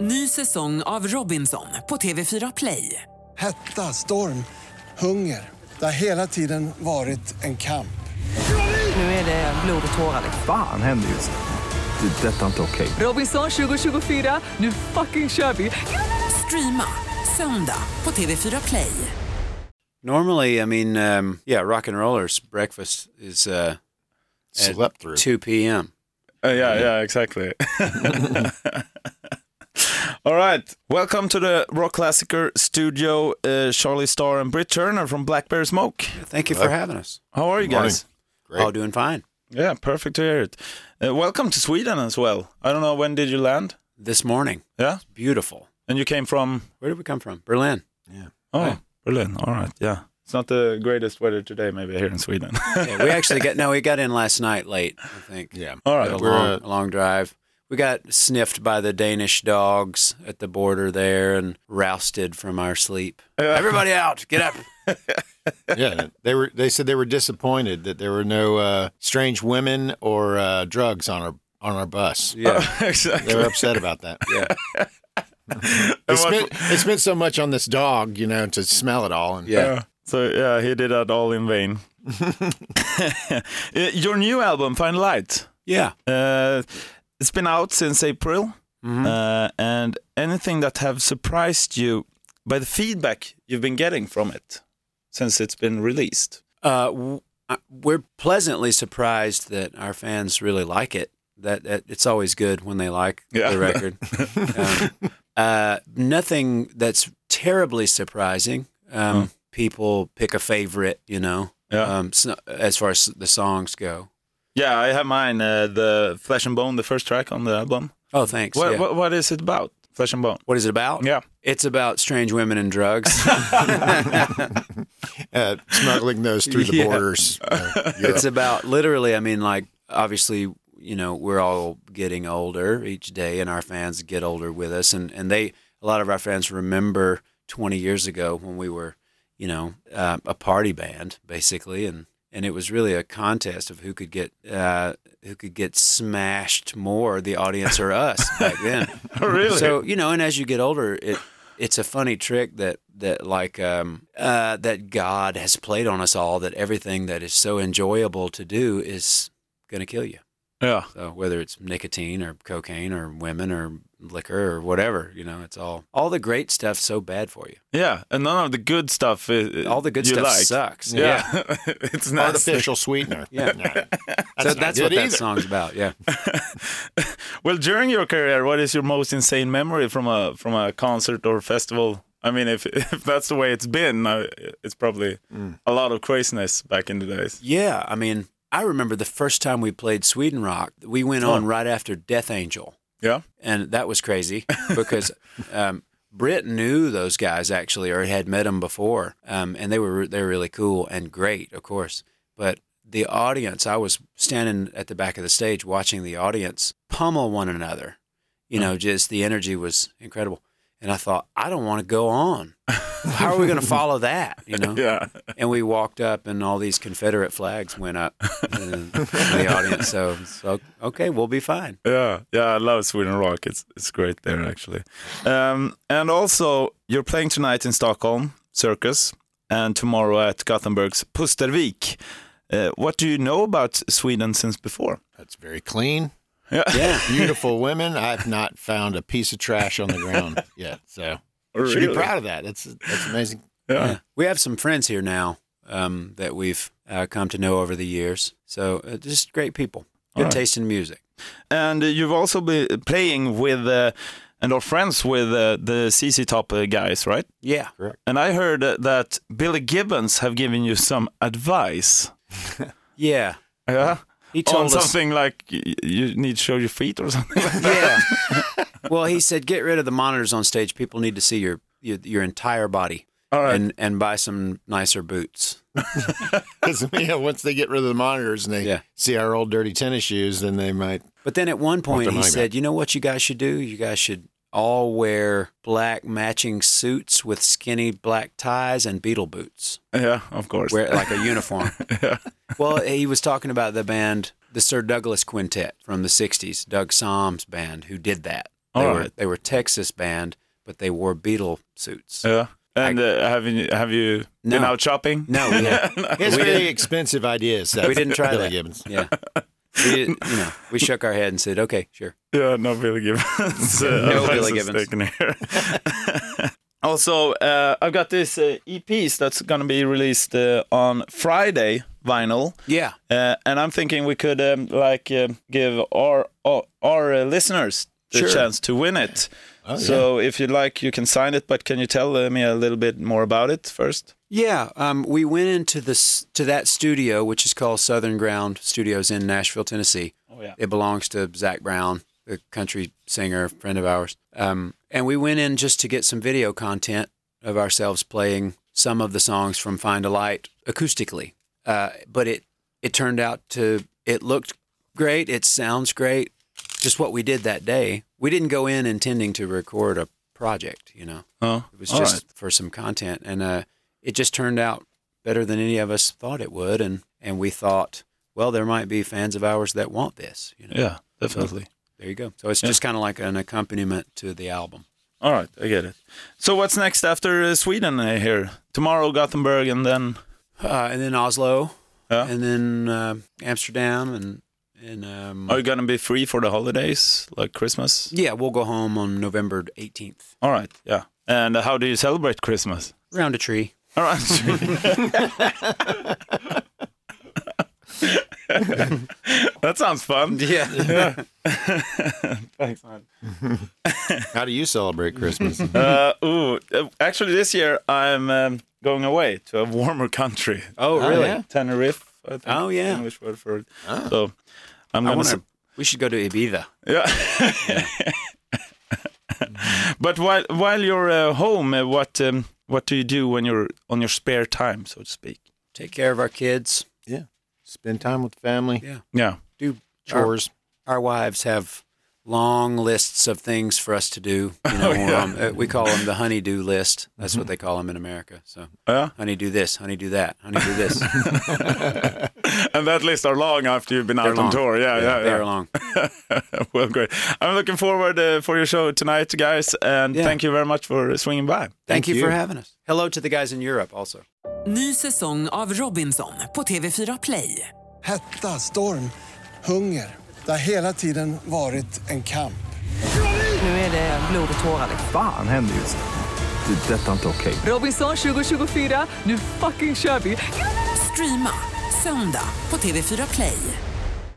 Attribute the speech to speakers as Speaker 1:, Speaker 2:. Speaker 1: Ny säsong av Robinson på TV4 Play.
Speaker 2: Hetta, storm, hunger. Det har hela tiden varit en kamp.
Speaker 1: Nu är det blod och tårar.
Speaker 3: Fan händer just nu. Det. är Detta är inte okej.
Speaker 1: Robinson 2024, nu fucking kör vi! Streama söndag på TV4 Play.
Speaker 4: Normally, I mean, um, yeah, rock and rollers breakfast is uh, at
Speaker 5: Slept through.
Speaker 4: 2 p.m.
Speaker 6: Uh, yeah, yeah, exactly. All right, welcome to the Rock Classicer studio. Uh, Charlie Starr and Britt Turner from Black Bear Smoke.
Speaker 4: Thank you for having us.
Speaker 6: How are you guys?
Speaker 5: Great.
Speaker 4: All doing fine.
Speaker 6: Yeah, perfect to hear it. Uh, welcome to Sweden as well. I don't know when did you land.
Speaker 4: This morning,
Speaker 6: Yeah,
Speaker 4: beautiful.
Speaker 6: and you came from
Speaker 4: Where did we come from? Berlin.
Speaker 6: oh Berlin. All right, yeah. It's not the greatest weather today, maybe here in Sweden.
Speaker 4: Yeah, we actually got no, we got in last night late. I think.
Speaker 5: Yeah.
Speaker 6: All
Speaker 4: Had
Speaker 6: right,
Speaker 4: a
Speaker 5: We're,
Speaker 4: long,
Speaker 5: uh,
Speaker 4: a long drive. We got sniffed by the Danish dogs at the border there and rousted from our sleep. Everybody out! Get up!
Speaker 5: yeah, they were. They said they were disappointed that there were no uh, strange women or uh, drugs on our on our bus.
Speaker 4: Yeah.
Speaker 5: They were upset about that.
Speaker 4: Yeah.
Speaker 5: They spent, they spent so much on this dog, you know, to smell it all. And
Speaker 4: Yeah.
Speaker 6: Yeah. So yeah, he did that all in vain. Uh, Your new album, Find Light,
Speaker 4: Yeah.
Speaker 6: uh, it's been out since April, uh, and anything that have surprised you by the feedback you've been getting from it since it's been released.
Speaker 4: Uh, w- I- we're pleasantly surprised that our fans really like it. That, that it's always good when they like
Speaker 6: Yeah.
Speaker 4: the record. um, uh, nothing that's terribly surprising. Um, People pick a favorite, you know.
Speaker 6: Yeah.
Speaker 4: Um, s- as far as the songs go.
Speaker 6: Yeah, I have mine. Uh, the Flesh and Bone, the first track on the album.
Speaker 4: Oh, thanks.
Speaker 6: What,
Speaker 4: yeah.
Speaker 6: what, what is it about? Flesh and Bone.
Speaker 4: what is it about?
Speaker 6: Yeah.
Speaker 4: It's about strange women and drugs.
Speaker 5: uh, smuggling those through the
Speaker 4: Yeah.
Speaker 5: borders. Uh, Europe.
Speaker 4: it's about literally, I mean, like, obviously, you know, we're all getting older each day, and our fans get older with us. And, and they, a lot of our fans remember 20 years ago when we were, you know, uh, a party band, basically. And, and it was really a contest of who could get uh, who could get smashed more, the audience or us back then.
Speaker 6: really?
Speaker 4: So you know, and as you get older, it it's a funny trick that that like um, uh, that God has played on us all. That everything that is so enjoyable to do is gonna kill you.
Speaker 6: yeah.
Speaker 4: So whether it's nicotine or cocaine or women or liquor or whatever, you know, it's all all the great stuff so bad for you.
Speaker 6: Yeah, and none of the good stuff. i-
Speaker 4: All the good
Speaker 6: you
Speaker 4: stuff
Speaker 6: like.
Speaker 4: sucks.
Speaker 6: Yeah, it's nasty.
Speaker 5: artificial sweetener.
Speaker 4: Yeah.
Speaker 5: No, that's
Speaker 4: So
Speaker 5: not
Speaker 4: that's
Speaker 5: good
Speaker 4: what that
Speaker 5: either.
Speaker 4: song's about. Yeah.
Speaker 6: Well, during your career, what is your most insane memory from a from a concert or festival? I mean, if if that's the way it's been, uh, it's probably a lot of craziness back in the days.
Speaker 4: Yeah, I mean, I remember the first time we played Sweden Rock. We went on right after Death Angel,
Speaker 6: Yeah,
Speaker 4: and that was crazy because um, Britt knew those guys actually, or had met them before, um, and they were they were really cool and great, of course. But the audience, I was standing at the back of the stage watching the audience pummel one another. You know, just the energy was incredible, and I thought, I don't want to go on. How are we going to follow that? You know
Speaker 6: yeah,
Speaker 4: and we walked up and all these confederate flags went up in the audience so, so okay we'll be fine
Speaker 6: yeah, yeah. I love Sweden Rock. It's it's great there actually. Um, and also, you're playing tonight in Stockholm Circus, and tomorrow at Gothenburg's Pustervik. Uh, what do you know about Sweden since before?
Speaker 5: That's very clean.
Speaker 4: yeah
Speaker 5: Beautiful women. I've not found a piece of trash on the ground yet. So
Speaker 4: Oh,
Speaker 5: should be
Speaker 6: Really?
Speaker 5: proud of that. That's that's amazing.
Speaker 6: Yeah.
Speaker 4: we have some friends here now um, that we've uh, come to know over the years so uh, just great people good
Speaker 6: right.
Speaker 4: taste in music
Speaker 6: And uh, you've also been playing with uh, and are friends with uh, the CC Top uh, guys, right?
Speaker 4: yeah
Speaker 6: And I heard uh, that Billy Gibbons have given you some advice.
Speaker 4: yeah
Speaker 6: Yeah.
Speaker 4: he
Speaker 6: On
Speaker 4: told us
Speaker 6: something like y- you need to show your feet or something.
Speaker 4: yeah well he said get rid of the monitors on stage people need to see your your, your entire body
Speaker 6: All right.
Speaker 4: and and buy some nicer boots
Speaker 5: Because you know, once they get rid of the monitors and they
Speaker 4: Yeah.
Speaker 5: see our old dirty tennis shoes, then they might.
Speaker 4: But then at one point
Speaker 5: their
Speaker 4: he
Speaker 5: money back.
Speaker 4: said, "You know what you guys should do? You guys should all wear black matching suits with skinny black ties and beetle boots,
Speaker 6: yeah, of course.
Speaker 4: wear like a uniform." Well, he was talking about the band, the Sir Douglas Quintet from the '60s, Doug Somm's band, who did that. They
Speaker 6: All
Speaker 4: were
Speaker 6: right.
Speaker 4: they were Texas band, but they wore Beatle suits.
Speaker 6: Yeah. And uh, have you have you been
Speaker 4: No.
Speaker 6: out shopping?
Speaker 4: no, we, had,
Speaker 5: He has
Speaker 4: We
Speaker 5: very
Speaker 4: didn't-
Speaker 5: expensive ideas.
Speaker 4: we didn't try
Speaker 5: Billy
Speaker 4: that.
Speaker 5: Gibbons.
Speaker 4: Yeah. We did, you know, we shook our head and said, "Okay, sure."
Speaker 6: Yeah, no Billy Gibbons. Uh,
Speaker 4: No
Speaker 6: advice
Speaker 4: Billy
Speaker 6: is
Speaker 4: Gibbons.
Speaker 6: taken here. also, uh, I've got this uh, EPs that's gonna be released uh, on Friday vinyl.
Speaker 4: Yeah.
Speaker 6: Uh, and I'm thinking we could um, like um give our our, our uh, listeners the
Speaker 4: Sure. Oh,
Speaker 6: chance to win it. so if you like, you can sign it. But can you tell uh, me a little bit more about it first?
Speaker 4: Yeah, um, we went into this to that studio, which is called Southern Ground Studios in Nashville, Tennessee. Oh
Speaker 6: yeah.
Speaker 4: it belongs to Zach Brown, a country singer friend of ours. Um, and we went in just to get some video content of ourselves playing some of the songs from Find a Light acoustically. Uh, but it it turned out to it looked great. It sounds great. Just what we did that day. We didn't go in intending to record a project, you know.
Speaker 6: Oh,
Speaker 4: It was
Speaker 6: all
Speaker 4: just
Speaker 6: right.
Speaker 4: for some content, and uh, it just turned out better than any of us thought it would. And and we thought, well, there might be fans of ours that want this. You know,
Speaker 6: yeah, definitely.
Speaker 4: there you go. So it's just kind of like an accompaniment to the album.
Speaker 6: All right, I get it. So what's next after uh, Sweden uh, here? Tomorrow Gothenburg and then
Speaker 4: Uh, and then Oslo,
Speaker 6: Yeah.
Speaker 4: and then uh, Amsterdam, and and um,
Speaker 6: are you gonna be free for the holidays like Christmas?
Speaker 4: yeah, we'll go home on November eighteenth.
Speaker 6: All right, yeah. And how do you celebrate Christmas?
Speaker 4: Round a tree.
Speaker 6: All right. that sounds fun.
Speaker 4: Yeah.
Speaker 5: How do you celebrate Christmas?
Speaker 6: Uh, ooh, uh, actually, this year I'm um, going away to a warmer country.
Speaker 4: Oh, really?
Speaker 6: yeah. Tenerife. I think,
Speaker 4: Oh, yeah.
Speaker 6: English word for it.
Speaker 4: Ah.
Speaker 6: So I'm
Speaker 4: I
Speaker 6: gonna.
Speaker 4: want to.
Speaker 6: s-
Speaker 4: We should go to Ibiza.
Speaker 6: yeah. but while while you're uh, home, uh, what um, what do you do when you're on your spare time, so to speak?
Speaker 4: Take care of our kids.
Speaker 5: yeah. Spend time with family,
Speaker 6: Yeah.
Speaker 4: Do our
Speaker 5: chores.
Speaker 4: our wives have long lists of things for us to do.
Speaker 6: Oh,
Speaker 4: You know, um, uh, we call them the honeydew list. That's what they call them in America. So,
Speaker 6: Mm-hmm. Yeah.
Speaker 4: honeydew this, honeydew that, honeydew this.
Speaker 6: And that list are long after you've been
Speaker 4: They're
Speaker 6: out
Speaker 4: long.
Speaker 6: on tour. Yeah, yeah, yeah.
Speaker 4: They're long.
Speaker 6: well, great. I'm looking forward uh, for your show tonight, guys, and
Speaker 4: Yeah.
Speaker 6: thank you very much for swinging by.
Speaker 4: Thank you for having us. Hello to the guys in Europe also.
Speaker 1: Ny säsong av Robinson på TV4 Play.
Speaker 2: Hetta, storm, hunger. Det har hela tiden varit en kamp.
Speaker 7: Nu är det blod och tårar.
Speaker 3: Fan händer just nu. Det. är Detta är inte okej.
Speaker 1: Robinson 2024, nu fucking kör vi! Streama söndag på TV4 Play.